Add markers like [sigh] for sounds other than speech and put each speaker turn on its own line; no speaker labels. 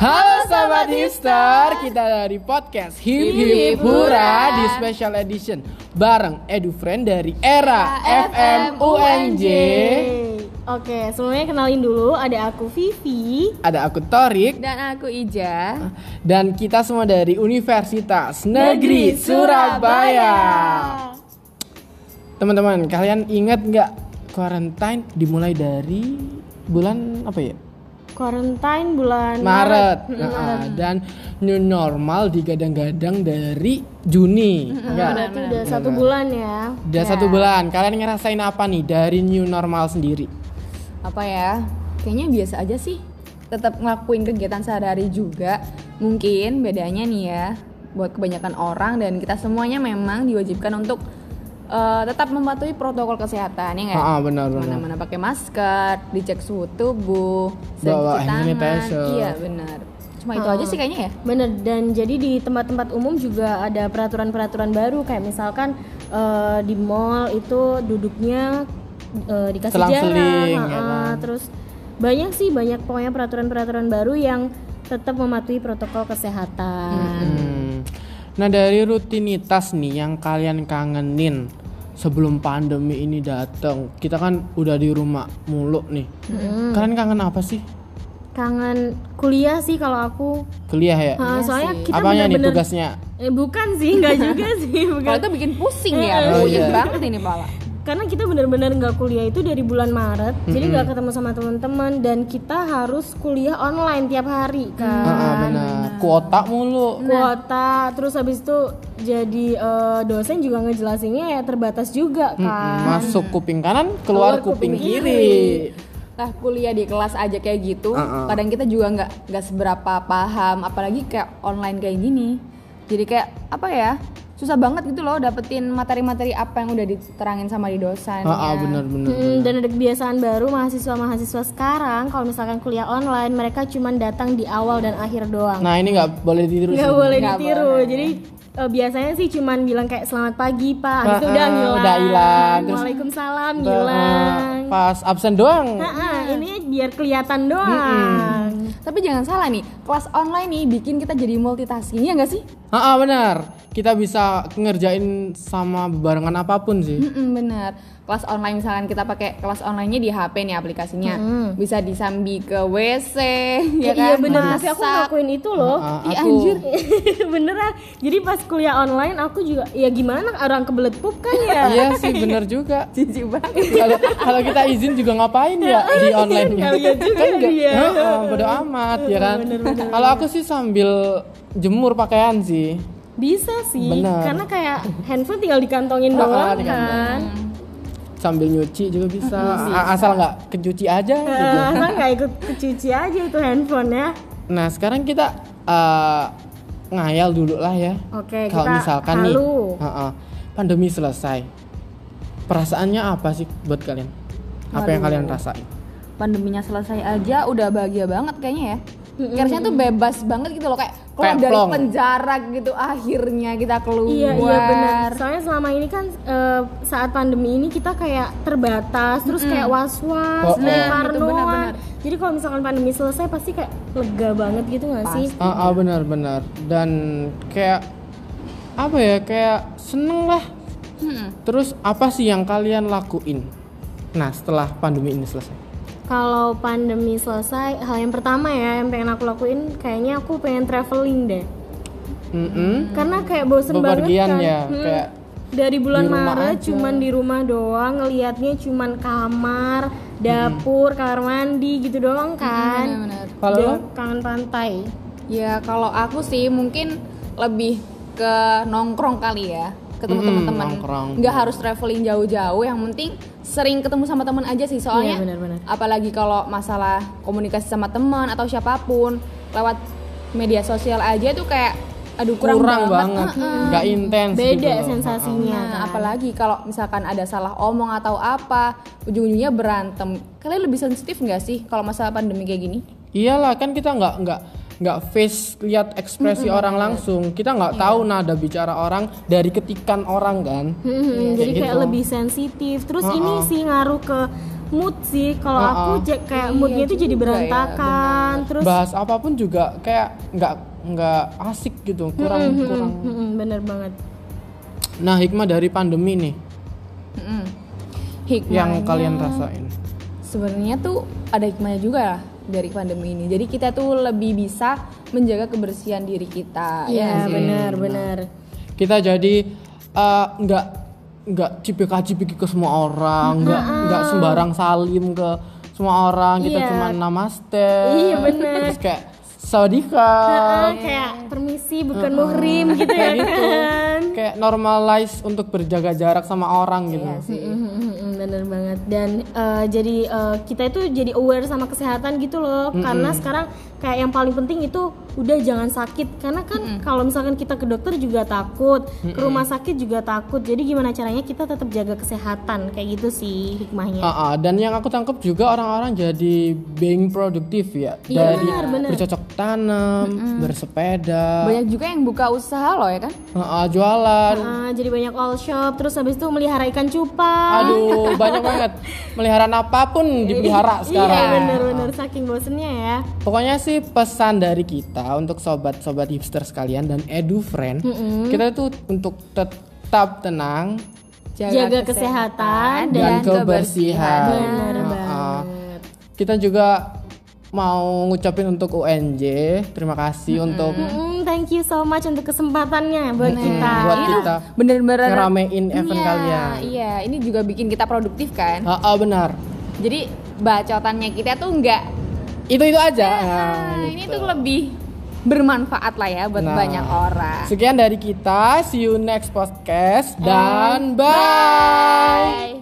Halo Sobat Hipster, kita dari podcast Hip Hip Hura di special edition bareng EduFriend dari Era FM UNJ.
Oke, semuanya kenalin dulu. Ada aku Vivi.
Ada aku Torik
Dan aku Ija.
dan kita semua dari Universitas Negeri Surabaya. Teman-teman, kalian ingat nggak quarantine dimulai dari bulan apa ya?
Quarantine bulan
Maret. Nah, dan new normal digadang-gadang dari Juni. Enggak.
Berarti udah satu bulan ya.
Udah satu bulan. Kalian ngerasain apa nih dari new normal sendiri?
Apa ya? Kayaknya biasa aja sih. Tetap ngelakuin kegiatan sehari-hari juga. Mungkin bedanya nih ya buat kebanyakan orang dan kita semuanya memang diwajibkan untuk eh, tetap mematuhi protokol kesehatan ya nggak?
Ah, ah, benar benar.
Mana-mana pakai masker, dicek suhu tubuh,
Bawa
sering cuci
hand
tangan.
sanitizer.
Iya, benar. Cuma itu aja sih kayaknya ya.
Bener, dan jadi di tempat-tempat umum juga ada peraturan-peraturan baru. Kayak misalkan eh, di mall itu duduknya eh, dikasih
Selang-seling,
jarak.
ya
ha-ha.
kan?
Terus banyak sih, banyak pokoknya peraturan-peraturan baru yang tetap mematuhi protokol kesehatan.
Hmm. Nah, dari rutinitas nih yang kalian kangenin sebelum pandemi ini datang. Kita kan udah di rumah mulu nih. Kalian kangen apa sih?
Kangen kuliah sih kalau aku.
Kuliah ya?
Ha, soalnya kita
Apanya nih
bener-bener
tugasnya?
Eh, bukan sih, nggak
[laughs]
juga sih.
Kalau
Bukan.
itu bikin pusing ya,
Oh,
pusing
iya.
banget ini pala.
Karena kita benar-benar nggak kuliah itu dari bulan Maret, jadi nggak ketemu sama teman-teman dan kita harus kuliah online tiap hari
Ah,
kan.
ah, benar. Kuota mulu.
Kuota, terus habis itu jadi eh, dosen juga ngejelasinnya ya terbatas juga kan.
Masuk kuping kanan, keluar, kuping, kiri.
lah Nah, kuliah di kelas aja kayak gitu kadang kita juga nggak nggak seberapa paham apalagi kayak online kayak gini jadi kayak apa ya susah banget gitu loh dapetin materi-materi apa yang udah diterangin sama di dosen
Ah, ah, benar benar.
Hmm, dan ada kebiasaan baru mahasiswa-mahasiswa sekarang kalau misalkan kuliah online mereka cuman datang di awal dan akhir doang.
Nah, ini nggak boleh ditiru.
Mm. nggak
sih.
boleh
Nggak
ditiru
boleh.
jadi eh, biasanya sih cuman bilang kayak selamat pagi pak habis itu udah
Ah, ah,
ngilang
udah hilang. Terus-
waalaikumsalam
Ba-
ngilang
ah, Pas absen doang.
Nah, ah, ini biar kelihatan doang
tapi jangan salah nih kelas online nih bikin kita jadi multitasking ya nggak sih
Ah, ah, benar. Kita bisa ngerjain sama barengan apapun sih.
Mm-mm, bener kelas online misalkan kita pakai kelas onlinenya di HP nih aplikasinya bisa disambi ke WC
Ya,
ya kan
iya bener tapi aku
Masak.
ngelakuin itu loh
Ah,
Ih,
aku
anjir.
[laughs] beneran jadi pas kuliah online aku juga ya gimana orang kebelet pup kan ya
Iya sih, bener juga.
[laughs] jijik banget
Kalau kalau kita izin juga ngapain ya di online
nggak lihat Iya juga
kan nggak-
dia.
Heeh, bodo amat ya kan. Kalau aku sih sambil jemur pakaian sih.
bisa sih
Bener.
karena kayak handphone tinggal dikantongin
Ah, ah,
doang
dikantongin.
kan
Sambil nyuci juga bisa.
Iya
A- Asal nggak kecuci aja gitu.
Eh, [laughs] kan nggak ikut kecuci aja itu handphone ya
Nah, sekarang kita eh, ngayal dulu lah ya.
Oke,
Kalau
kita
misalkan nih,
halu.
heeh, pandemi selesai. Perasaannya apa sih buat kalian? Apa yang kalian rasain?
pandeminya selesai aja udah bahagia banget kayaknya ya Kayaknya tuh bebas banget gitu loh kayak keluar
Kayak
dari
plong.
penjara gitu akhirnya kita keluar.
Iya iya benar. Soalnya selama ini kan eh, saat pandemi ini kita kayak terbatas, terus kayak was-was,
Oh, oh.
kayak
Nah, itu
parnoan.
benar-benar.
Jadi kalau misalkan pandemi selesai pasti kayak lega banget gitu gak sih?
Ah, ah, benar-benar. Dan kayak apa ya? Kayak seneng lah.
Hmm.
Terus apa sih yang kalian lakuin? Nah, setelah pandemi ini selesai.
Kalau pandemi selesai, hal yang pertama ya yang pengen aku lakuin kayaknya aku pengen traveling deh.
Mm-mm.
Karena kayak bosen
Bepergian
banget kan.
ya,
Mm-mm.
kayak
dari
di
bulan
rumah
Maret
aja.
cuman di rumah doang, ngelihatnya cuman kamar, dapur, kamar mandi gitu doang kan.
benar.
Kalau lo?
Dan kangen pantai.
Ya kalau aku sih mungkin lebih ke nongkrong kali ya ketemu
Mm-mm,
teman-teman.
nongkrong.
Nggak harus traveling jauh-jauh, yang penting sering ketemu sama teman aja sih
Iya,
soalnya.
benar-benar.
Apalagi kalau masalah komunikasi sama teman atau siapapun lewat media sosial aja tuh kayak aduh kurang,
kurang, banget, nggak intens gitu
Beda
loh.
sensasinya.
Nah,
kan.
apalagi kalau misalkan ada salah omong atau apa, ujung-ujungnya berantem. Kalian lebih sensitif nggak sih kalau masalah pandemi kayak gini?
Iyalah kan kita nggak nggak nggak face lihat ekspresi orang langsung. Kita nggak
Iya.
tahu nada bicara orang dari ketikan orang kan.
Hmm, jadi
kayak
kayak
gitu.
lebih sensitif. Terus ini sih ngaruh ke mood sih kalau
Uh-uh.
aku cek kayak
Iya
moodnya itu jadi
juga ya,
berantakan terus
bahas apapun juga kayak nggak nggak asik gitu kurang
Mm-mm,
kurang
mm-mm, bener hmm, banget
nah hikmah dari pandemi nih
Mm-mm. Hikmahnya,
yang kalian rasain
Sebenarnya tuh ada hikmahnya juga lah dari pandemi ini. Jadi kita tuh lebih bisa menjaga kebersihan diri kita. ya
iya
nggak sih?
bener bener
kita jadi eh, nggak nggak cipika cipiki ke semua orang nggak nggak sembarang salim ke semua orang kita
Iya.
cuma namaste
Iya, bener.
terus kayak sawadika
Ah, kayak permisi bukan [laughs] muhrim gitu ya kan
kayak normalize untuk berjaga jarak sama orang gitu
Iya sih.
Mm-mm, bener Mm-hmm, banget dan eh, jadi eh, kita itu jadi aware sama kesehatan gitu loh karena sekarang kayak yang paling penting itu udah jangan sakit karena kan kalau misalkan kita ke dokter juga takut ke rumah sakit juga takut jadi gimana caranya kita tetap jaga kesehatan kayak gitu sih hikmahnya
Ah, ah, dan yang aku tangkap juga orang-orang jadi being produktif ya
Iya,
dari
benar, benar.
bercocok tanam, bersepeda,
Banyak juga yang buka usaha loh ya kan?
ah, ah, jualan.
Ah, jadi banyak all shop terus habis itu melihara ikan cupang [laughs]
Aduh, banyak banget. Meliharaan apapun dipelihara sekarang.
iya bener-bener saking bosennya ya
Pokoknya sih pesan dari kita untuk sobat-sobat hipster sekalian dan edu friend, kita tuh untuk tetap tenang
Jaga kesehatan
dan, kebersihan.
Benar
Ah, ah. Kita juga mau ngucapin untuk UNJ, terima kasih untuk
Mm, thank you so much untuk kesempatannya buat kita
buat kita
Bener-bener
ngeramein event
Iya,
kalian.
Iya, ini juga bikin kita produktif kan?
Ah, ah, benar.
Jadi bacotannya kita tuh nggak
Itu itu aja.
Nah,
Ah,
ini
gitu.
tuh lebih bermanfaat lah ya buat
Nah.
banyak orang.
Sekian dari kita. See you next podcast dan bye.
Bye.